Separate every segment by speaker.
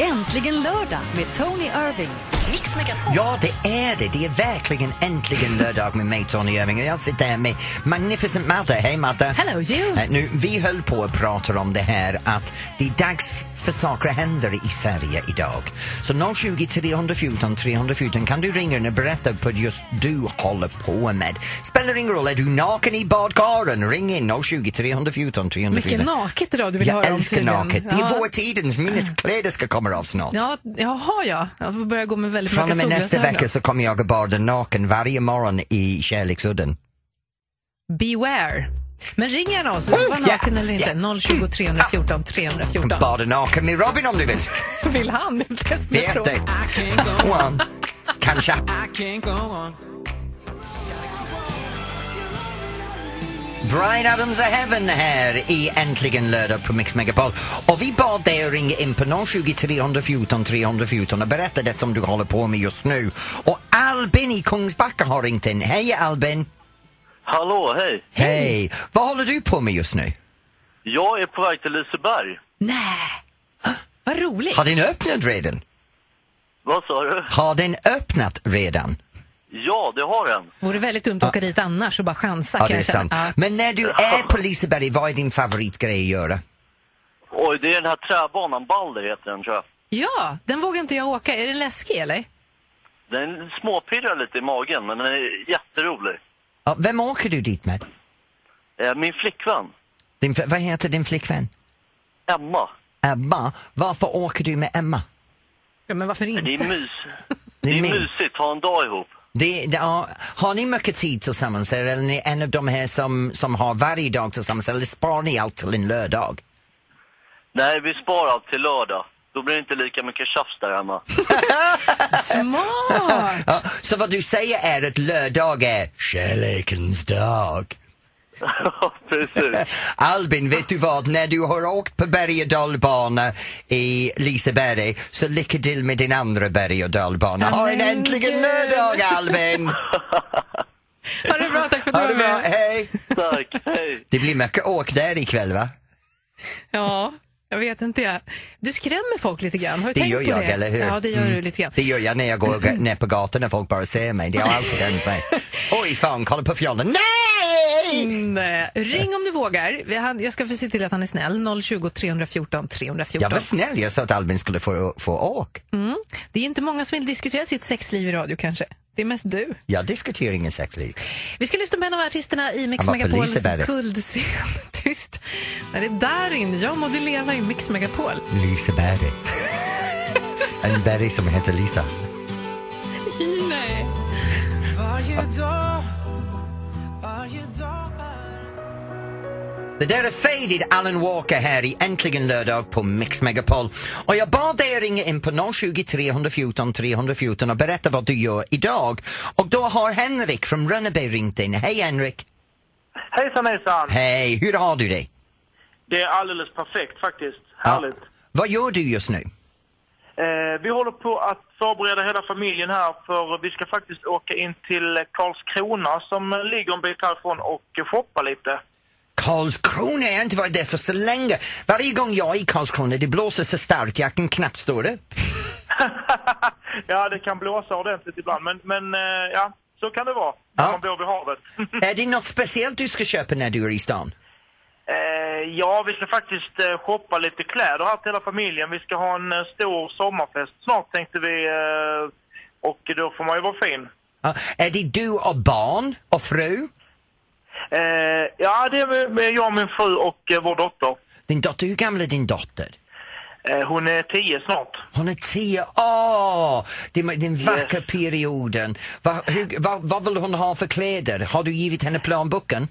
Speaker 1: Äntligen lördag med Tony Irving. Mix Megapol.
Speaker 2: Ja, det är det. Det är verkligen äntligen lördag med mig, Tony Irving. Och jag sitter här med Magnificent Madde. Hej, Madde!
Speaker 1: Hello you.
Speaker 2: Eh, Nu, vi höll på att prata om det här att det är dags för saker händer i Sverige idag. Så 020 314 314 kan du ringa in och berätta vad just du håller på med. Spelar ingen roll, är du naken i badkaren? Ring in 020 314 314.
Speaker 3: Mycket naket idag du vill
Speaker 2: Jag
Speaker 3: höra om
Speaker 2: älskar
Speaker 3: tydligen.
Speaker 2: naket. Det är
Speaker 3: ja.
Speaker 2: vårtidens minneskläder ska komma av snart.
Speaker 3: Ja, jaha ja. Jag får börja gå med väldigt
Speaker 2: Från och med
Speaker 3: mörka
Speaker 2: nästa
Speaker 3: solglasögon.
Speaker 2: vecka så kommer jag att bada naken varje morgon i Kärleksudden.
Speaker 3: Beware. Men ring gärna oss, du får vara
Speaker 2: yeah,
Speaker 3: naken eller inte. 020 314 314.
Speaker 2: Bada naken med Robin om du vill.
Speaker 3: Vill han? Det är det som
Speaker 2: Det
Speaker 3: är
Speaker 2: är det.
Speaker 3: frågan.
Speaker 2: One. Kanske. Brian Adams of Heaven här i Äntligen lördag på Mix Megapol. Och vi bad dig att ringa in på 020 314 314 och berätta det som du håller på med just nu. Och Albin i Kungsbacka har ringt in. Hej Albin!
Speaker 4: Hallå, hej!
Speaker 2: Hej! Vad håller du på med just nu?
Speaker 4: Jag är på väg till Liseberg.
Speaker 3: Nej. Hå? Vad roligt.
Speaker 2: Har den öppnat redan?
Speaker 4: Vad sa du?
Speaker 2: Har den öppnat redan?
Speaker 4: Ja, det har den.
Speaker 3: Vore väldigt dumt att åka dit annars och bara chansa
Speaker 2: Ja, det är
Speaker 3: kanske.
Speaker 2: sant.
Speaker 3: Ja.
Speaker 2: Men när du är på Liseberg, vad är din favoritgrej att göra?
Speaker 4: Oj, det är den här träbanan, Balder heter den tror jag.
Speaker 3: ja, den vågar inte jag åka. Är den läskig eller?
Speaker 4: Den småpirrar lite i magen, men den är jätterolig.
Speaker 2: Ja, vem åker du dit med?
Speaker 4: Eh, Min flickvän,
Speaker 2: Din, f- vad heter din flickvän?
Speaker 4: Emma,
Speaker 2: Ebba. Varför åker du med Emma?
Speaker 3: Ja, men varför
Speaker 4: det är,
Speaker 3: inte?
Speaker 4: mys. det är
Speaker 2: min.
Speaker 4: mysigt, ha en dag ihop.
Speaker 2: Det, det, ja, har ni mycket tid tillsammans eller är ni en av de här som, som har varje dag tillsammans eller sparar ni allt till en lördag?
Speaker 4: Nej, vi sparar allt till lördag. Då blir det inte lika mycket tjafs där hemma.
Speaker 3: Smart!
Speaker 2: Ja, så vad du säger är att lördag är kärlekens dag.
Speaker 4: Ja, Precis.
Speaker 2: Albin, vet du vad? När du har åkt på berg och dalbana i Liseberg så lycka till med din andra berg och dalbana. Ha en
Speaker 3: Men
Speaker 2: äntligen
Speaker 3: gud.
Speaker 2: lördag Albin!
Speaker 3: Ha det bra, tack för att
Speaker 2: Ha
Speaker 3: du
Speaker 2: det
Speaker 3: var
Speaker 2: bra,
Speaker 3: med.
Speaker 2: hej!
Speaker 4: Tack, hej!
Speaker 2: Det blir mycket åk där ikväll va?
Speaker 3: Ja, jag vet inte. jag. Du skrämmer folk lite grann. Har du
Speaker 2: Det
Speaker 3: tänkt
Speaker 2: gör
Speaker 3: på
Speaker 2: jag,
Speaker 3: det?
Speaker 2: eller hur?
Speaker 3: Ja, det gör
Speaker 2: Mm.
Speaker 3: du lite grann.
Speaker 2: Det gör jag när jag går g- ner på gatan och folk bara ser mig. Det har alltid hänt mig. Oj fan, kolla på fjollen. Nej!
Speaker 3: Mm. Nej, eh, ring om du vågar. Vi hade- Jag ska få se till att han är snäll. 020 314 314.
Speaker 2: Jag var snäll, jag sa att Albin skulle få, få åk.
Speaker 3: Det är inte många som vill diskutera sitt sexliv i radio kanske. Det är mest du.
Speaker 2: Jag diskuterar ingen sexliv.
Speaker 3: Vi ska lyssna på en av artisterna i Mix
Speaker 2: Han var på
Speaker 3: Megapols
Speaker 2: Liseberg.
Speaker 3: kuldscen. Tyst. När det är där inne. Jag må du leva i Mix Megapol.
Speaker 2: Liseberg. en berg som heter Lisa.
Speaker 3: Nej.
Speaker 2: Det där är Faded Alan Walker här i Äntligen lördag på Mix Megapol. Och jag bad dig att ringa in på 020 314 314 och berätta vad du gör idag. Och då har Henrik från Rönneby ringt in. Hej Henrik!
Speaker 5: Hejsan hejsan!
Speaker 2: Hej, hur har du det?
Speaker 5: Det är alldeles perfekt faktiskt. Härligt.
Speaker 2: Ja. Vad gör du just nu?
Speaker 5: Eh, vi håller på att förbereda hela familjen här för vi ska faktiskt åka in till Karlskrona som ligger en bit härifrån och shoppa lite.
Speaker 2: Karlskrona, jag har inte varit där för så länge. Varje gång jag är i Karlskrona, det blåser så starkt jag kan knappt stå det.
Speaker 5: ja, det kan blåsa ordentligt ibland men, men eh, ja, så kan det vara när
Speaker 2: Ja.
Speaker 5: man bor vid havet.
Speaker 2: Är det något speciellt du ska köpa när du är i stan?
Speaker 5: Eh, ja, vi ska faktiskt eh, shoppa lite kläder här till hela familjen. Vi ska ha en eh, stor sommarfest snart tänkte vi eh, och då får man ju vara fin.
Speaker 2: Ja, Är det du och barn och fru?
Speaker 5: Eh, ja, det är med- med jag, min fru och eh, vår dotter.
Speaker 2: Din dotter, hur gammal är din dotter?
Speaker 5: Eh, hon är tio snart.
Speaker 2: Hon är tio. Åh! Det är den vackra perioden. Va, hur, va, vad vill hon ha för kläder? Har du givit henne plånboken?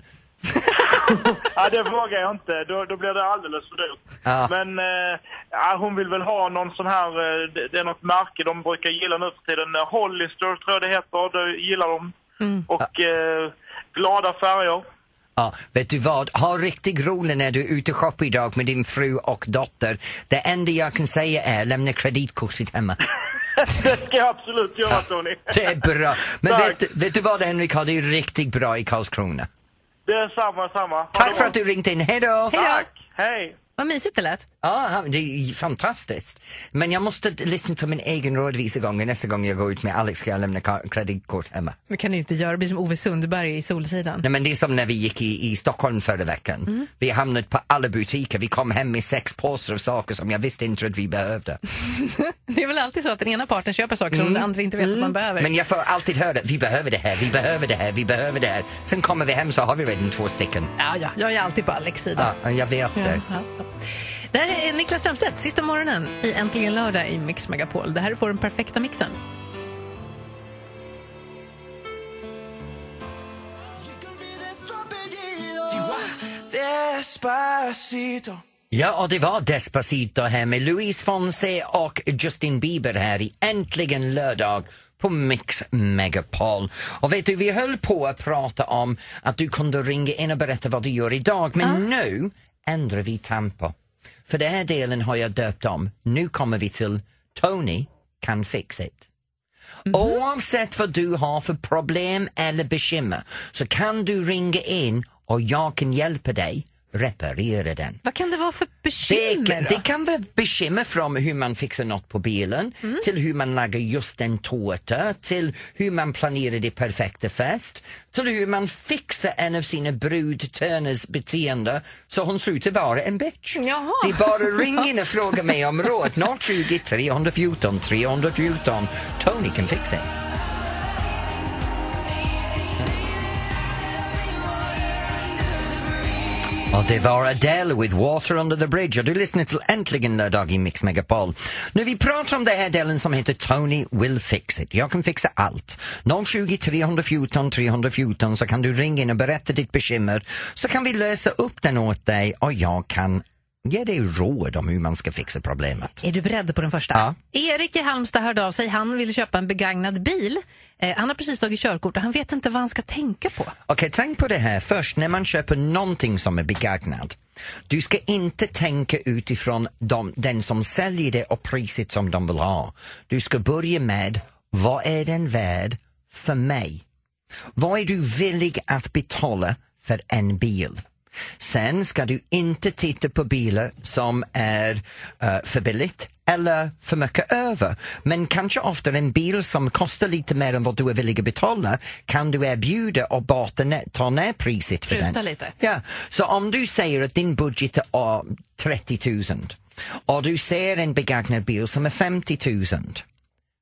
Speaker 5: Ja, det vågar jag inte. Då, då blir det alldeles för dyrt.
Speaker 2: Ja.
Speaker 5: Men eh, ja, hon vill väl ha någon sån här... Eh, det, det är något märke de brukar gilla nu för tiden. Eh, Hollister tror jag det heter. Det gillar de.
Speaker 2: Mm.
Speaker 5: Och eh, glada färger.
Speaker 2: Ja, vet du vad? Ha riktigt roligt när du är ute och shoppar idag med din fru och dotter. Det enda jag kan säga är lämna kreditkortet hemma.
Speaker 5: det ska jag absolut göra, Tony.
Speaker 2: Det är bra. Men
Speaker 5: Tack.
Speaker 2: vet, vet du vad Henrik har det är riktigt bra i Karlskrona.
Speaker 5: Det är samma, samma. Ha det
Speaker 2: Tack för
Speaker 5: bra.
Speaker 2: att du ringt in. Hej då!
Speaker 3: Hej då.
Speaker 5: Tack! Hej!
Speaker 3: Vad mysigt det lät.
Speaker 2: Ja, ja, det är ju fantastiskt. Men jag måste d- lyssna till min egen rådvisa gång. Nästa gång jag går ut med Alex ska jag lämna ka- kreditkort hemma.
Speaker 3: Det kan du inte göra. Det blir som Ove Sundberg i Solsidan.
Speaker 2: Nej, men det är som när vi gick i, i Stockholm förra veckan. Vi hamnade på alla butiker. Vi kom hem med sex påsar av saker som jag visste inte att vi behövde.
Speaker 3: Det är väl alltid så att den ena parten köper saker som den andra inte vet att man behöver.
Speaker 2: Mm. Men jag får alltid höra, vi behöver det här, vi behöver det här, vi behöver det här. Sen kommer vi hem så har vi redan två stycken.
Speaker 3: Ja, ja, jag är alltid på Alex sida.
Speaker 2: Ja, jag vet
Speaker 3: Ja,
Speaker 2: det.
Speaker 3: ja, ja. Det här är Niklas Strömstedt, sista morgonen i Äntligen lördag i Mix Megapol. Det här får den perfekta mixen.
Speaker 2: Ja, och det var Despacito här med Luis Fonse och Justin Bieber här i Äntligen lördag på Mix Megapol. Och vet du, vi höll på att prata om att du kunde ringa in och berätta vad du gör idag, men nu ändrar vi tempo. För den här delen har jag döpt om. Nu kommer vi till Tony kan fixa it. Oavsett vad du har för problem eller bekymmer så kan du ringa in och jag kan hjälpa dig reparera den.
Speaker 3: Vad kan det vara för
Speaker 2: Det,
Speaker 3: bekymmer
Speaker 2: kan-
Speaker 3: då?
Speaker 2: det kan vara bekymmer från hur man fixar något på bilen
Speaker 3: Mm.
Speaker 2: till hur man lagar just en tårta, till hur man planerar det perfekta fest, till hur man fixar en av sina brudtörners beteende så hon slutar vara en bitch.
Speaker 3: Jaha.
Speaker 2: Det är bara ring in och fråga mig om råd. 020 314 314. Tony kan fixa det. Och det var Adele with Water Under the Bridge och du lyssnar till Äntligen lördag i Mix Megapol. Nu vi pratar om det här delen som heter Tony will fix it. Jag kan fixa allt. 020 314 314 så kan du ringa in och berätta ditt bekymmer så kan vi lösa upp den åt dig och jag kan ge dig råd om hur man ska fixa problemet.
Speaker 3: Är du beredd på den första?
Speaker 2: Ja.
Speaker 3: Erik i Halmstad hörde av sig. Han vill köpa en begagnad bil. Eh, han har precis tagit körkort och han vet inte vad han ska tänka på.
Speaker 2: Okej, tänk på det här först. När man köper någonting som är begagnat, du ska inte tänka utifrån dem, den som säljer det och priset som de vill ha. Du ska börja med, vad är den värd för mig? Vad är du villig att betala för en bil? Sen ska du inte titta på bilar som är eh, för billigt eller för mycket över. Men kanske ofta en bil som kostar lite mer än vad du är villig att betala kan du erbjuda och bara ta ner- ta ner priset för
Speaker 3: Pruta
Speaker 2: den.
Speaker 3: lite.
Speaker 2: Ja, så om du säger att din budget är 30 000 och du ser en begagnad bil som är 50 000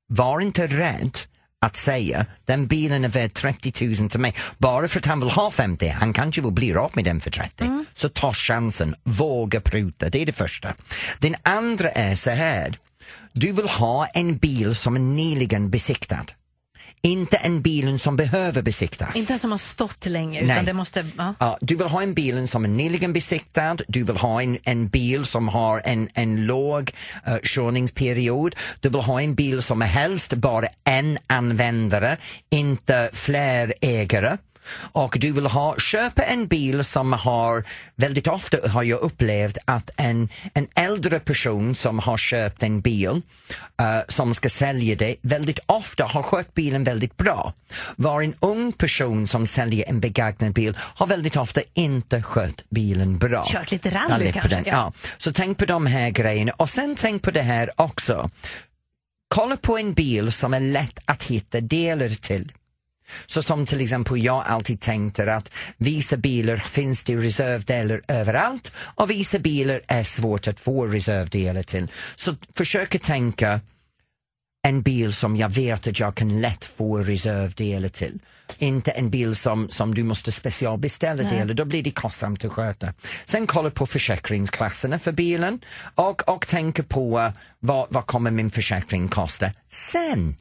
Speaker 2: var inte rädd att säga den bilen är värd 30 000 till mig bara för att han vill ha 50. Han kanske vill bli av med den för 30. Så ta chansen, våga pruta. Det är det första. Den andra är så här. Du vill ha en bil som är nyligen besiktad. Inte en bilen som behöver besiktas.
Speaker 3: Inte en som har stått länge, utan
Speaker 2: Nej.
Speaker 3: det måste... Ja.
Speaker 2: Ja, du vill ha en bil som är nyligen besiktad, du vill ha en, en bil som har en, en låg uh, körningsperiod, du vill ha en bil som är helst bara en användare, inte fler ägare. Och du vill ha, köpa en bil som har, väldigt ofta har jag upplevt att en, en äldre person som har köpt en bil eh, som ska sälja det väldigt ofta har skött bilen väldigt bra. Var en ung person som säljer en begagnad bil har väldigt ofta inte skött bilen bra.
Speaker 3: Kört lite rally
Speaker 2: Ja, på
Speaker 3: kanske,
Speaker 2: den,
Speaker 3: ja.
Speaker 2: ja. Så tänk på de här grejerna och sen tänk på det här också. Kolla på en bil som är lätt att hitta delar till. Så som till exempel jag alltid tänkte att vissa bilar finns det reservdelar överallt och vissa bilar är svårt att få reservdelar till. Så försök att tänka en bil som jag vet att jag kan lätt få reservdelar till. Inte en bil som, som du måste specialbeställa delar, då blir det kostsamt att sköta. Sen kolla på försäkringsklasserna för bilen och, och tänka på eh, vad, vad kommer min försäkring kosta. Sen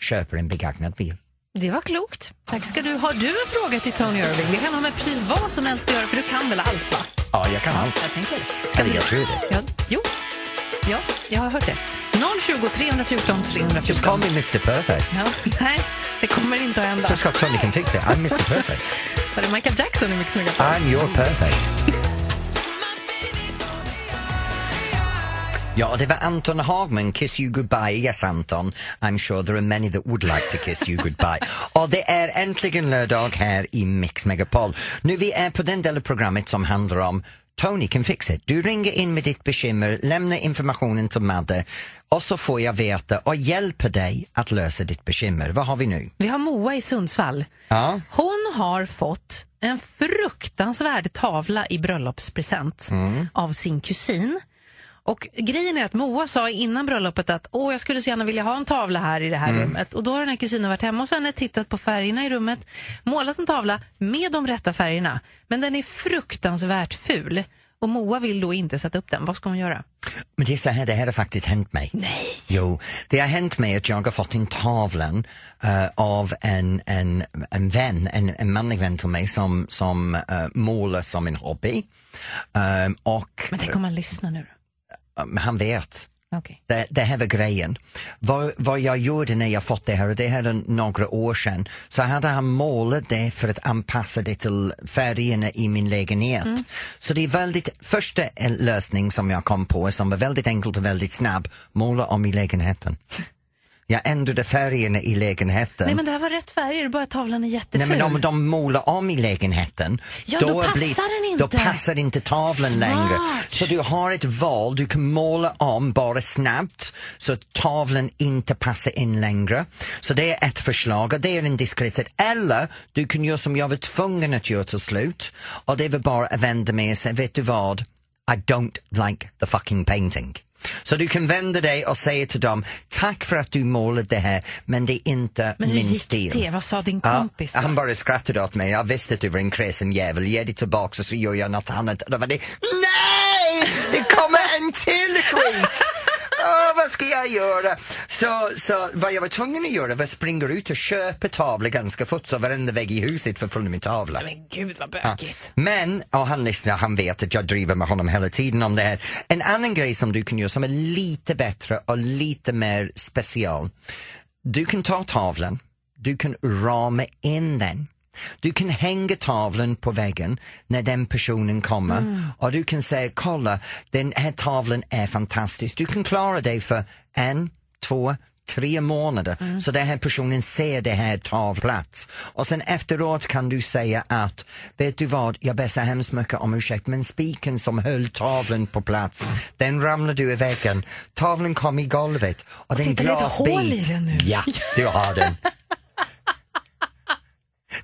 Speaker 2: köper en begagnad bil.
Speaker 3: Det var klokt. Tack ska du ha. Du en fråga till Tony Irving. Det kan ha med precis vad som helst att göra, för du kan väl allt, va?
Speaker 2: Ja, jag kan allt.
Speaker 3: Jag tänker det.
Speaker 2: Eller jag tror det.
Speaker 3: Ja, jo. Ja, jag har hört det. 020 314
Speaker 2: Just
Speaker 3: 314.
Speaker 2: call me Mr Perfect.
Speaker 3: Ja, nej, det kommer inte att hända.
Speaker 2: Så ska Tony kan fixa. I'm Mr Perfect.
Speaker 3: Var det Michael Jackson i Mix Megapol?
Speaker 2: I'm your perfect. Ja, det var Anton Hagman, Kiss you goodbye. Yes, Anton. I'm sure there are many that would like to kiss you goodbye. Och det är äntligen lördag här i Mix Megapol. Nu vi är på den del av programmet som handlar om Tony kan fixa det. Du ringer in med ditt bekymmer, lämna informationen till Madde och så får jag veta och hjälper dig att lösa ditt bekymmer. Vad har vi nu?
Speaker 3: Vi har Moa i Sundsvall.
Speaker 2: Ja.
Speaker 3: Hon har fått en fruktansvärd tavla i bröllopspresent
Speaker 2: Mm.
Speaker 3: av sin kusin. Och grejen är att Moa sa innan bröllopet att Åh, jag skulle så gärna vilja ha en tavla här i det här
Speaker 2: Mm.
Speaker 3: rummet. Och då har den här kusinen varit hemma hos henne, tittat på färgerna i rummet, målat en tavla med de rätta färgerna. Men den är fruktansvärt ful. Och Moa vill då inte sätta upp den. Vad ska hon göra?
Speaker 2: Men det är så här, det här har faktiskt hänt mig. Nej. Jo, det har hänt mig att jag har fått en tavlan eh, av en, en, en vän, en, en manlig vän till mig som, som eh, målar som en hobby. Ehm, och
Speaker 3: Men tänk om man lyssnar nu då?
Speaker 2: eh, han vet.
Speaker 3: Okej.
Speaker 2: Det, det här var grejen. Vad, vad jag gjorde när jag fått det här, och det här är några år sedan, så hade han målat det för att anpassa det till färgerna i min lägenhet.
Speaker 3: Mm.
Speaker 2: Så det är väldigt, första eh, lösning som jag kom på som var väldigt enkelt och väldigt snabb, måla om i lägenheten. Jag ändrade färgerna i lägenheten.
Speaker 3: Nej men det här var rätt färger, bara tavlan är jätteful.
Speaker 2: Nej, men om de målar om i lägenheten,
Speaker 3: Ja, då passar den
Speaker 2: då
Speaker 3: inte.
Speaker 2: passar inte tavlan
Speaker 3: Smart.
Speaker 2: längre. Så du har ett val, du kan måla om bara snabbt så att tavlan inte passar in längre. Så det är ett förslag och det är en diskret sätt. Eller du kan göra som jag var tvungen att göra till slut och det var bara att vända mig och säga, vet du vad, I don't like the fucking painting. Så du kan vända dig och säga till dem, tack för att du målade det här men det är inte
Speaker 3: Men hur
Speaker 2: min
Speaker 3: gick
Speaker 2: stil.
Speaker 3: det? Vad sa din
Speaker 2: Ja,
Speaker 3: kompis? då?
Speaker 2: han bara skrattade åt mig. Jag visste att du var en kresen jävel. Ge det tillbaka och så gör jag något annat. Och då var det NEJ! Det kommer en till skit! Åh, vad ska jag göra? Så, så vad jag var tvungen att göra var att springa ut och köpa tavlor ganska fort så varenda vägg i huset var full med tavlor.
Speaker 3: Men gud vad bökigt.
Speaker 2: Men, och han lyssnar, han vet att jag driver med honom hela tiden om det här. En annan grej som du kan göra som är lite bättre och lite mer special. Du kan ta tavlan, du kan rama in den. Du kan hänga tavlan på väggen när den personen kommer
Speaker 3: Mm.
Speaker 2: och du kan säga kolla den här tavlan är fantastisk. Du kan klara dig för en, två, tre månader
Speaker 3: Mm.
Speaker 2: så den här personen ser det här tavlat. Och sen efteråt kan du säga att, vet du vad, jag ber så hemskt mycket om ursäkt men spiken som höll tavlan på plats, den ramlade ur väggen, tavlan kom i golvet och, den
Speaker 3: titta, det är ett
Speaker 2: glasbit.
Speaker 3: hål i den nu.
Speaker 2: Ja, du har den.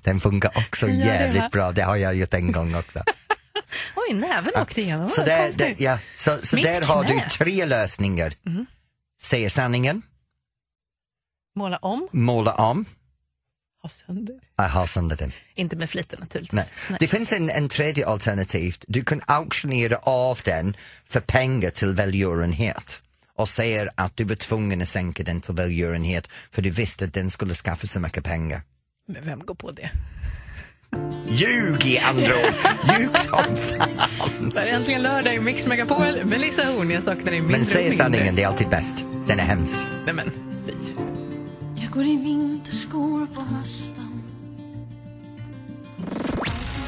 Speaker 2: Den funkar också
Speaker 3: Ja, det
Speaker 2: jävligt
Speaker 3: va?
Speaker 2: bra, det har jag gjort en gång också.
Speaker 3: Oj, näven åkte igenom.
Speaker 2: Så
Speaker 3: Så
Speaker 2: där, där, ja, så, så
Speaker 3: Mitt
Speaker 2: där har du
Speaker 3: knä. Mhm.
Speaker 2: tre lösningar. Säga sanningen,
Speaker 3: Måla om,
Speaker 2: måla om,
Speaker 3: ha sönder.
Speaker 2: jag har sönder den.
Speaker 3: Inte med flit naturligtvis.
Speaker 2: Nej. Det finns en, en tredje alternativ. Du kan auktionera av den för pengar till välgörenhet och säger att du var tvungen att sänka den till välgörenhet för du visste att den skulle skaffa så mycket pengar.
Speaker 3: Men vem går på det?
Speaker 2: Ljug i andra ord! Ljug som fan!
Speaker 3: Det är äntligen lördag i Mix Megapol. Melissa Horn, jag saknar dig mindre
Speaker 2: Men säg
Speaker 3: och mindre.
Speaker 2: sanningen, det är alltid bäst. Den är hemskt.
Speaker 3: Nej men, fy.
Speaker 6: E
Speaker 7: Jag går i vinterskor på hösten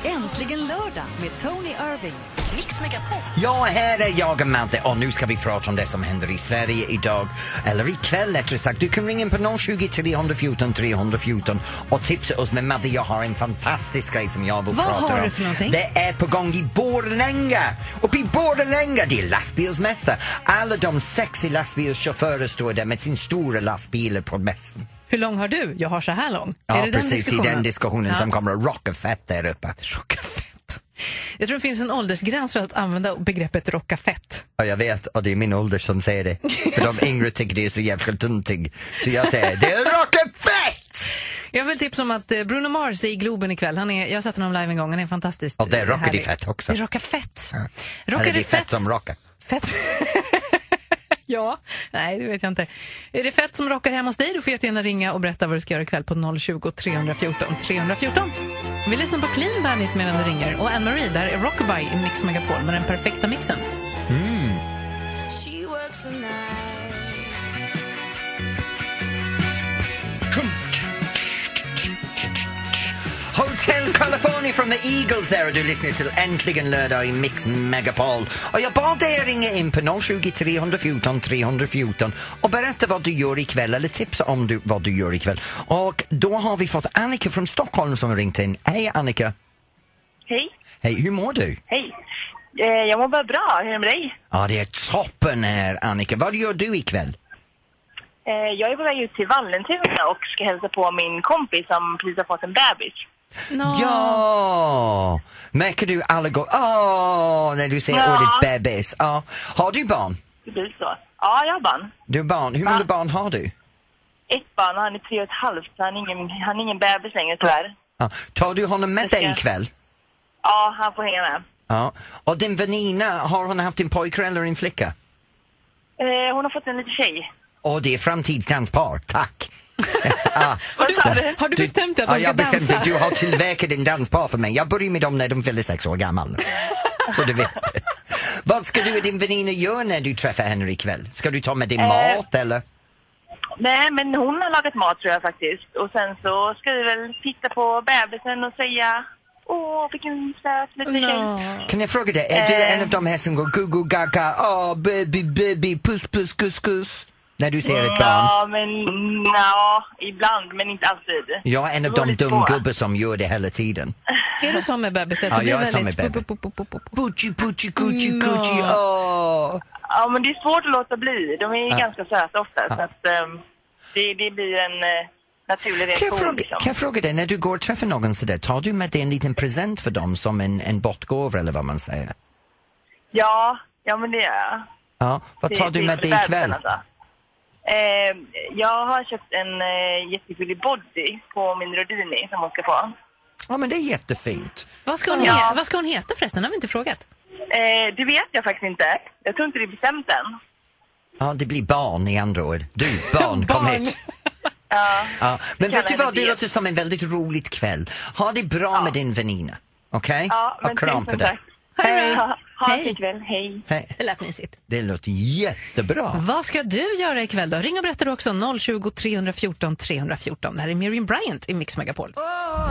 Speaker 1: Äntligen lördag med Tony Irving. Mix Megapol.
Speaker 2: Ja, här är jag och Madde och nu ska vi prata om det som händer i Sverige idag, eller ikväll rättare sagt. Du kan ringa in på 020 314 314 och tipsa oss. Men Madde, jag har en fantastisk grej som jag vill
Speaker 3: Vad
Speaker 2: prata om.
Speaker 3: har du för någonting?
Speaker 2: Det är på gång i Borlänge! Uppe i Borlänge, det är lastbilsmässa. Alla de sexy lastbilschaufförer står där med sina stora lastbilar på mässan.
Speaker 3: Hur lång har du? Jag har så här lång.
Speaker 2: Ja,
Speaker 3: är det
Speaker 2: precis,
Speaker 3: den
Speaker 2: det är den diskussionen
Speaker 3: Ja.
Speaker 2: som kommer att rocka fett där uppe.
Speaker 3: Rocka fett. Jag tror det finns en åldersgräns för att använda begreppet rocka fett.
Speaker 2: Ja, jag vet och det är min ålder som säger det. För de yngre tycker det är så jävla tuntig. Så jag säger, det är rocken fett!
Speaker 3: Jag vill tipsa om att eh, Bruno Mars är i Globen ikväll. Han är, jag har sett honom live en gång, han är fantastisk.
Speaker 2: Och det rockar
Speaker 3: härlig.
Speaker 2: det fett också.
Speaker 3: Det rockar fett.
Speaker 2: Eller
Speaker 3: Rockar
Speaker 2: det
Speaker 3: det
Speaker 2: är fett som rockar.
Speaker 3: Fett. ja, nej det vet jag inte. Är det fett som rockar hemma hos dig? Du får jättegärna ringa och berätta vad du ska göra ikväll på 020 314 314. Vi lyssnar på Clean Bandit medan du ringer och Ann-Marie, där är Rockabye i Mix Megapol med den perfekta mixen.
Speaker 7: She
Speaker 6: e
Speaker 7: works a night
Speaker 2: Hotel California from the Eagles där och du lyssnar till Äntligen lördag i Mix Megapol. Och jag bad dig att ringa in på 020 314 314 och berätta vad du gör ikväll eller tipsa om du, vad du gör ikväll. Och då har vi fått Annika från Stockholm som har ringt in. Hej Annika!
Speaker 8: Hej,
Speaker 2: Hej, hur mår du?
Speaker 8: hej. Eh, Jag mår bara bra. Hur är det med dig?
Speaker 2: Ja, det är toppen här, Annika. Vad gör du ikväll?
Speaker 8: Eh, Jag är på väg ut till Vallentuna och ska hälsa på min kompis som precis har fått en bebis.
Speaker 3: Nå.
Speaker 2: Ja! Märker du alla gånger, åh, när du säger
Speaker 8: Ja.
Speaker 2: ordet bebis. Ja. Har du barn?
Speaker 8: Det blir så. Ja, jag har barn.
Speaker 2: Du har barn. Hur många
Speaker 8: Va?
Speaker 2: barn har du?
Speaker 8: Ett barn och han är tre och ett halvt, så han är ingen, han är ingen bebis längre tyvärr.
Speaker 2: Ja. Tar du honom med
Speaker 8: Jag ska-
Speaker 2: dig ikväll?
Speaker 8: Ja, han får hänga med.
Speaker 2: Ja. Och din väninna, har hon haft en pojke eller en flicka?
Speaker 8: Eh, Hon har fått en liten tjej.
Speaker 2: Och det är framtidsdanspar, tack!
Speaker 8: Vad sa du?
Speaker 3: Har du bestämt dig att
Speaker 2: ja,
Speaker 3: de ska
Speaker 2: jag bestämde,
Speaker 3: dansa?
Speaker 2: du har tillverkat en danspar för mig. Jag började med dem när de fyllde sex år gammal. Så du vet. Vad ska du och din väninna göra när du träffar henne ikväll? Ska du ta med din
Speaker 3: Eh.
Speaker 2: mat eller?
Speaker 8: Nej, men hon har lagat mat tror jag faktiskt. Och sen så ska vi väl titta på bebisen och säga Åh, vilken söt liten
Speaker 3: Nå.
Speaker 8: tjej.
Speaker 2: Kan jag fråga dig, är du
Speaker 8: Eh.
Speaker 2: en av de här som går gugu gaga, åh baby baby, puss puss kuss kuss? När du ser ett barn?
Speaker 8: Ja, men ja, ibland, men inte alltid.
Speaker 2: Jag är en av
Speaker 8: Det beror
Speaker 2: de
Speaker 8: lite på.
Speaker 2: dumgubbar som gör det hela tiden.
Speaker 3: Är du som med bebisar?
Speaker 2: Ja,
Speaker 3: Du blir
Speaker 2: jag är som
Speaker 3: väldigt-
Speaker 2: med bebis.
Speaker 3: pop, pop, pop, pop, pop.
Speaker 2: Pucci pucci cucci
Speaker 3: Nå.
Speaker 2: cucci, åh!
Speaker 8: Ja, men det är svårt att låta bli. De är
Speaker 2: Ja.
Speaker 8: ganska söta ofta,
Speaker 2: Ja.
Speaker 8: så att ehm, det, det blir en eh, naturlig
Speaker 2: Kan jag,
Speaker 8: reaktion.
Speaker 2: fråga,
Speaker 8: Liksom.
Speaker 2: kan jag fråga dig, när du går och träffar någon sådär, tar du med dig en liten present för dem som en, en bortgåva eller vad man säger?
Speaker 8: Ja, ja, men det gör jag.
Speaker 2: Ja, vad
Speaker 8: Det-
Speaker 2: tar du
Speaker 8: det är
Speaker 2: med
Speaker 8: för
Speaker 2: dig
Speaker 8: bebisen,
Speaker 2: ikväll?
Speaker 8: alltså. Ehm, jag har köpt en eh, jättefyllig body på min Rodini som hon ska få.
Speaker 2: Ja, men det är jättefint.
Speaker 3: Vad ska, hon
Speaker 8: Ja.
Speaker 3: he- vad ska hon heta förresten? har vi inte frågat.
Speaker 8: Eh, det vet jag faktiskt inte. Jag tror inte det är bestämt än.
Speaker 2: Ja, det blir barn i andra ord. Du, barn, kom
Speaker 3: Barn.
Speaker 2: hit.
Speaker 8: Ja.
Speaker 2: Ja, men vet
Speaker 8: Kallar
Speaker 2: du vad,
Speaker 8: henne
Speaker 2: det
Speaker 8: det.
Speaker 2: låter som en väldigt rolig kväll. Ha det bra med din väninna, okej?
Speaker 8: Ja, men
Speaker 2: och kram på
Speaker 8: tusen
Speaker 2: dig.
Speaker 8: tack.
Speaker 2: Hej!
Speaker 8: Ha, ha en
Speaker 3: Hej.
Speaker 8: fin kväll. Hej.
Speaker 2: Hej.
Speaker 3: Det lät mysigt.
Speaker 2: Det låter jättebra.
Speaker 3: Vad ska du göra ikväll då? Ring och berätta du också. 020 314 314. Det här är Miriam Bryant i Mix Megapol.
Speaker 6: Oh,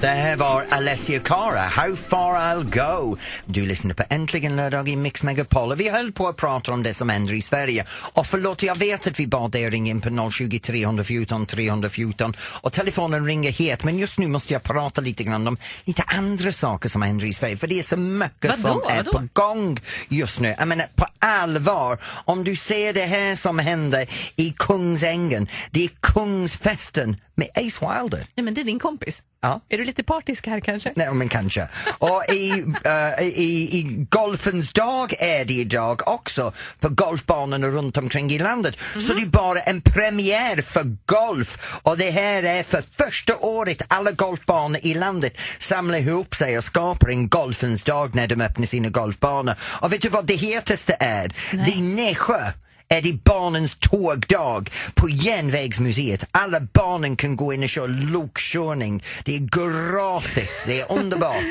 Speaker 2: Det här var Alessia Cara, How far I'll go. Du lyssnade på Äntligen lördag i Mix Megapol och vi höll på att prata om det som händer i Sverige. Och förlåt, jag vet att vi bad dig ringa in på 020 314 314 och telefonen ringer het men just nu måste jag prata lite grann om lite andra saker som händer i Sverige för det är så mycket
Speaker 3: Vadå?
Speaker 2: som är
Speaker 3: Vadå?
Speaker 2: på gång just nu. Jag menar på allvar, om du ser det här som händer i Kungsängen, det är Kungsfesten med Ace Wilder.
Speaker 3: Nej, men det är din kompis.
Speaker 2: Ja.
Speaker 3: Är du lite partisk här kanske?
Speaker 2: Nej, men kanske. Och i, eh, i, i golfens dag är det idag också på golfbanorna runt omkring i landet. Så det är bara en premiär för golf och det här är för första året alla golfbanor i landet samlar ihop sig och skapar en golfens dag när de öppnar sina golfbanor. Och vet du vad det hetaste är? Det är Nässjö är det barnens tågdag på Järnvägsmuseet. Alla barnen kan gå in och köra lokkörning. Det är gratis, det är underbart.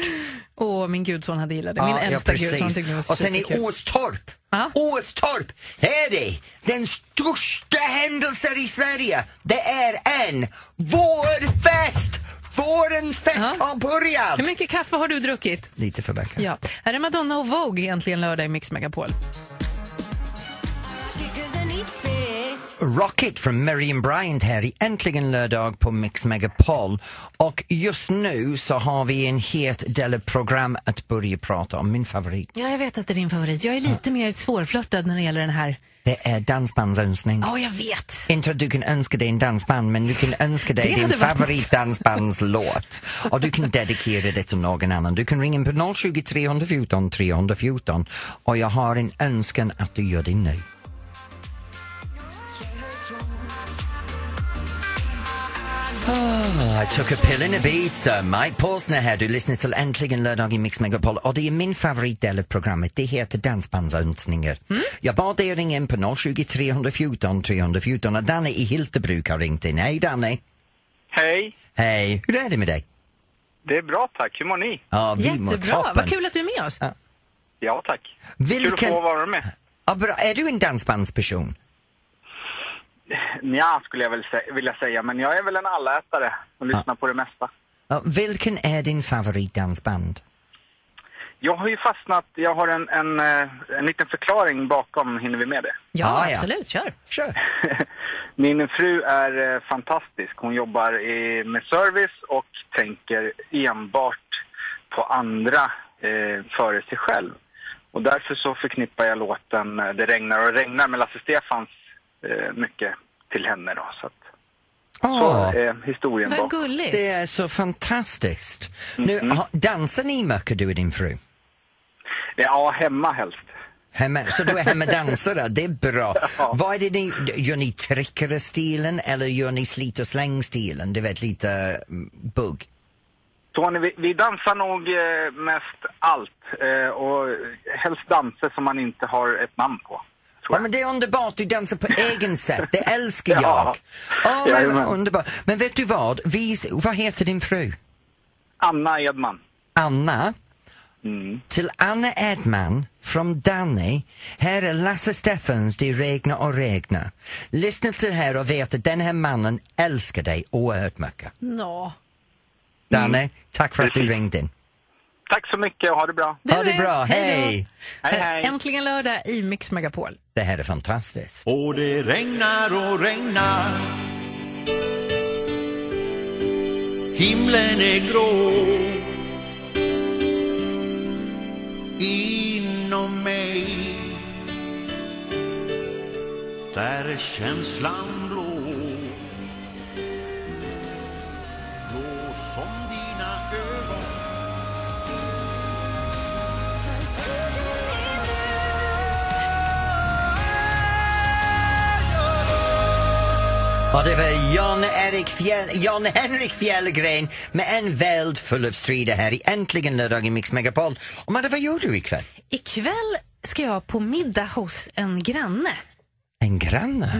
Speaker 3: Åh, min gudson hade gillat det. Min äldsta gudson tyckte det var
Speaker 2: Och sen i
Speaker 3: superkul.
Speaker 2: Åstorp,
Speaker 3: Ja.
Speaker 2: Åstorp, här är det den största händelsen i Sverige. Det är en vårfest! Vårens fest har
Speaker 3: Hur
Speaker 2: börjat!
Speaker 3: mycket kaffe har du druckit?
Speaker 2: Lite för mycket.
Speaker 3: Ja. Här är Madonna och Vogue egentligen lördag i Mix Megapol.
Speaker 2: Rocket från Miriam Bryant här i Äntligen lördag på Mix Megapol. Och just nu så har vi en het del program att börja prata om. Min favorit,
Speaker 3: Ja, jag vet att det är din favorit. Jag är lite mer svårflörtad när det gäller den här.
Speaker 2: det är dansbandsönskning.
Speaker 3: Ja, jag vet.
Speaker 2: Inte att du kan önska dig en dansband, men du kan önska dig
Speaker 3: Det
Speaker 2: din
Speaker 3: hade varit något.
Speaker 2: favoritdansbandslåt. Och du kan dedikera det till någon annan. Du kan ringa in på 020 314 314 och jag har en önskan att du gör det nu. I took a pill in Ibiza. Mike Paulsner här. Du lyssnar till Äntligen lördag i Mix Megapol och det är min favoritdel av programmet. Det heter Dansbandsönskningar. Jag bad dig ringa in på 020 314 314 och Danny i Hyltebruk har ringt in. Hej Danny!
Speaker 9: Hej,
Speaker 2: Hej! Hur är det med dig?
Speaker 9: det är bra tack. Hur mår ni?
Speaker 2: Ja, vi mår
Speaker 3: Jättebra.
Speaker 2: toppen.
Speaker 3: Vad kul att du är med oss.
Speaker 2: Ja.
Speaker 9: Ja tack. Kul
Speaker 2: Vilken...
Speaker 9: att få vara med.
Speaker 2: Ja, bra. Är du en dansbandsperson?
Speaker 9: Ja, skulle jag väl sä- vilja säga, men jag är väl en allätare och lyssnar på det mesta.
Speaker 2: Ja, vilken är din favoritdansband?
Speaker 9: Jag har ju fastnat, jag har en, en, eh, en liten förklaring bakom, hinner vi med det?
Speaker 3: Ja,
Speaker 2: Ah, ja.
Speaker 3: absolut. Kör.
Speaker 2: Kör!
Speaker 9: Min fru är eh, fantastisk. Hon jobbar i, med service och tänker enbart på andra eh, före sig själv. Och därför så förknippar jag låten eh, Det regnar och regnar med Lasse Stefans eh, mycket till henne då. Så att,
Speaker 2: Åh,
Speaker 9: så är historien
Speaker 3: Vad
Speaker 9: bakom.
Speaker 3: gulligt.
Speaker 2: det är så fantastiskt.
Speaker 3: Mm-hmm.
Speaker 2: Nu, ha, dansar ni mycket du och din fru?
Speaker 9: Ja, hemma helst.
Speaker 2: Hemma, så du är hemmadansare, det är bra. Vad är det ni, gör ni trickare-stilen eller gör ni slit och släng-stilen? Du vet, lite mm, bugg.
Speaker 9: Tony, vi, vi dansar nog eh, mest allt eh, och helst danser som man inte har ett namn på. tror
Speaker 2: Ja,
Speaker 9: jag.
Speaker 2: men det är underbart, du dansar på egen sätt, det älskar jag.
Speaker 9: Ja.
Speaker 2: Åh, men,
Speaker 9: Jajamän.
Speaker 2: underbart. Men vet du vad, vi, vad heter din fru?
Speaker 9: Anna Edman.
Speaker 2: Anna.
Speaker 9: Mm.
Speaker 2: Till Anna Edman från Danny. Här är Lasse Steffans Det regnar och regnar. Lyssna till det här och vet att den här mannen älskar dig oerhört mycket.
Speaker 3: Nå.
Speaker 2: Danny, tack för att du ringde in.
Speaker 9: Tack så mycket och ha det bra.
Speaker 2: Ha det bra, hej!
Speaker 9: Hej, hej.
Speaker 3: Äntligen lördag i Mix Megapol.
Speaker 2: Det här är fantastiskt.
Speaker 10: Och det regnar och regnar Himlen är grå Inom mig Där är känslan blå Blå som dina ögon
Speaker 2: Och det var Jan-Erik Fjäll, Jan-Henrik Fjällgren med en värld full av strider här i Äntligen lördag i Mix Megapol. Och Madde, vad gör du ikväll?
Speaker 3: Ikväll ska jag på middag hos en granne.
Speaker 2: En granne?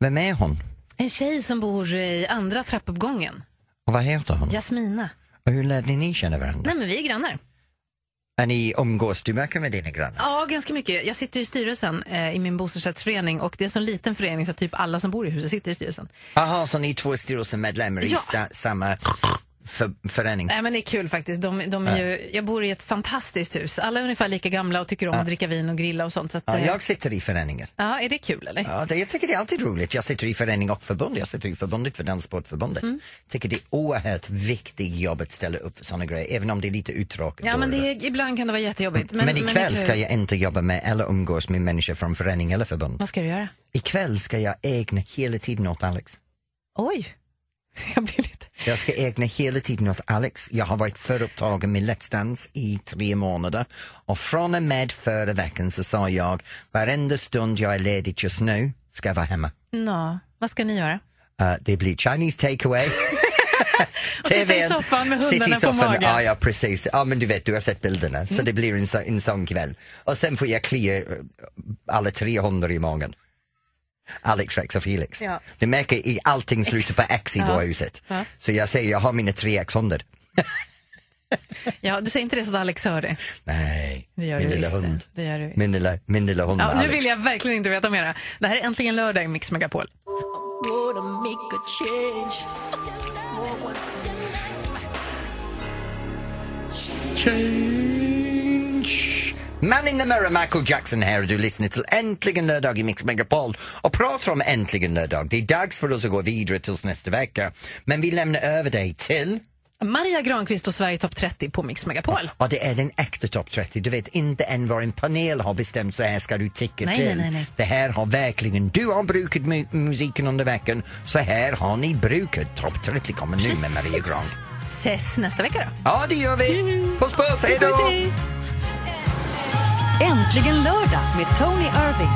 Speaker 2: Vem är hon?
Speaker 3: En tjej som bor i andra trappuppgången.
Speaker 2: Och vad heter hon?
Speaker 3: Jasmina.
Speaker 2: Och hur lärde ni känna varandra?
Speaker 3: Nej men vi är grannar.
Speaker 2: Är ni umgås du mycket med dina grannar?
Speaker 3: Ja, ganska mycket. Jag sitter i styrelsen eh, i min bostadsrättsförening och det är en sån liten förening så typ alla som bor i huset sitter i styrelsen.
Speaker 2: Jaha, så ni är två styrelsemedlemmar i
Speaker 3: Ja.
Speaker 2: sta- samma för- förening?
Speaker 3: Nej men det är kul faktiskt. De, de är ju, jag bor i ett fantastiskt hus. Alla är ungefär lika gamla och tycker om att dricka vin och grilla och sånt. Så att,
Speaker 2: Ja,
Speaker 3: eh,
Speaker 2: jag sitter i föreningen.
Speaker 3: ja, är det kul eller?
Speaker 2: Ja, det, jag tycker det är alltid roligt. Jag sitter i förening och förbund. Jag sitter i förbundet för Danssportförbundet.
Speaker 3: Mm.
Speaker 2: tycker det är oerhört viktigt jobb att ställa upp för sådana grejer, även om det är lite uttråkigt.
Speaker 3: Ja, men
Speaker 2: då.
Speaker 3: det är, ibland kan det vara jättejobbigt.
Speaker 2: men,
Speaker 3: det är
Speaker 2: ikväll ska
Speaker 3: kul.
Speaker 2: jag inte jobba med eller umgås med människor från förening eller förbund.
Speaker 3: Vad ska du göra?
Speaker 2: Ikväll ska jag ägna hela tiden åt Alex.
Speaker 3: Oj! Jag blir lite...
Speaker 2: Jag ska ägna hela tiden åt Alex. Jag har varit för upptagen med Let's Dance i tre månader och från och med förra veckan så sa jag varenda stund jag är ledig just nu ska jag vara hemma.
Speaker 3: Nå, vad ska ni göra?
Speaker 2: Eh, det blir Chinese takeaway.
Speaker 3: sitta i soffan med
Speaker 2: Sitta i
Speaker 3: hundarna på
Speaker 2: soffan.
Speaker 3: magen. Mm.
Speaker 2: Ja, ja, precis. Ja, men du vet, du har sett bilderna. Så det blir en, så, en sån kväll. Och sen får jag klia eh, alla tre hundar i magen. Alex, Rex och Felix.
Speaker 3: Ja.
Speaker 2: Du märker, i- allting slutar på X i
Speaker 3: Ja.
Speaker 2: vårhuset.
Speaker 3: Ja.
Speaker 2: Så jag säger, jag har mina tre X-hundar.
Speaker 3: Ja, du säger inte det så att Alex hör det.
Speaker 2: Nej,
Speaker 3: Det gör
Speaker 2: min
Speaker 3: du
Speaker 2: lilla
Speaker 3: visst det.
Speaker 2: hund.
Speaker 3: Det gör du visst.
Speaker 2: Min lilla, min lilla hund
Speaker 3: Ja, nu
Speaker 2: Alex.
Speaker 3: vill jag verkligen inte veta mera. Det här är äntligen lördag i Mix Megapol.
Speaker 2: Change. Man in the mirror, Michael Jackson här och du lyssnar till Äntligen lördag i Mix Megapol och pratar om Äntligen lördag. Det är dags för oss att gå vidare tills nästa vecka. Men vi lämnar över dig till,
Speaker 3: Maria Granqvist och Sverige topp 30 på Mix Megapol.
Speaker 2: och det är den äkta topp 30. Du vet inte än vad en panel har bestämt så här ska du ticka
Speaker 3: Nej,
Speaker 2: till.
Speaker 3: nej, nej, nej.
Speaker 2: Det här har verkligen, du har brukat mu- musiken under veckan, så här har ni brukat topp 30 kommer nu med Maria Gran.
Speaker 3: Ses nästa vecka då.
Speaker 2: Ja, det gör vi! Puss puss, hej då!
Speaker 1: Äntligen lördag med Tony Irving.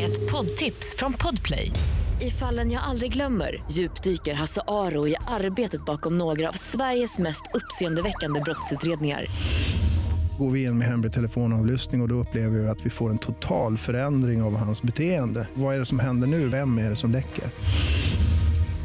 Speaker 1: Ett poddtips från Podplay.
Speaker 6: I fallen jag aldrig glömmer djupdyker Hasse Aro i arbetet bakom några av Sveriges mest uppseendeväckande brottsutredningar.
Speaker 11: Går vi in med hemlig telefonavlyssning och, och då upplever vi att vi får en total förändring av hans beteende. Vad är det som händer nu? Vem är det som läcker?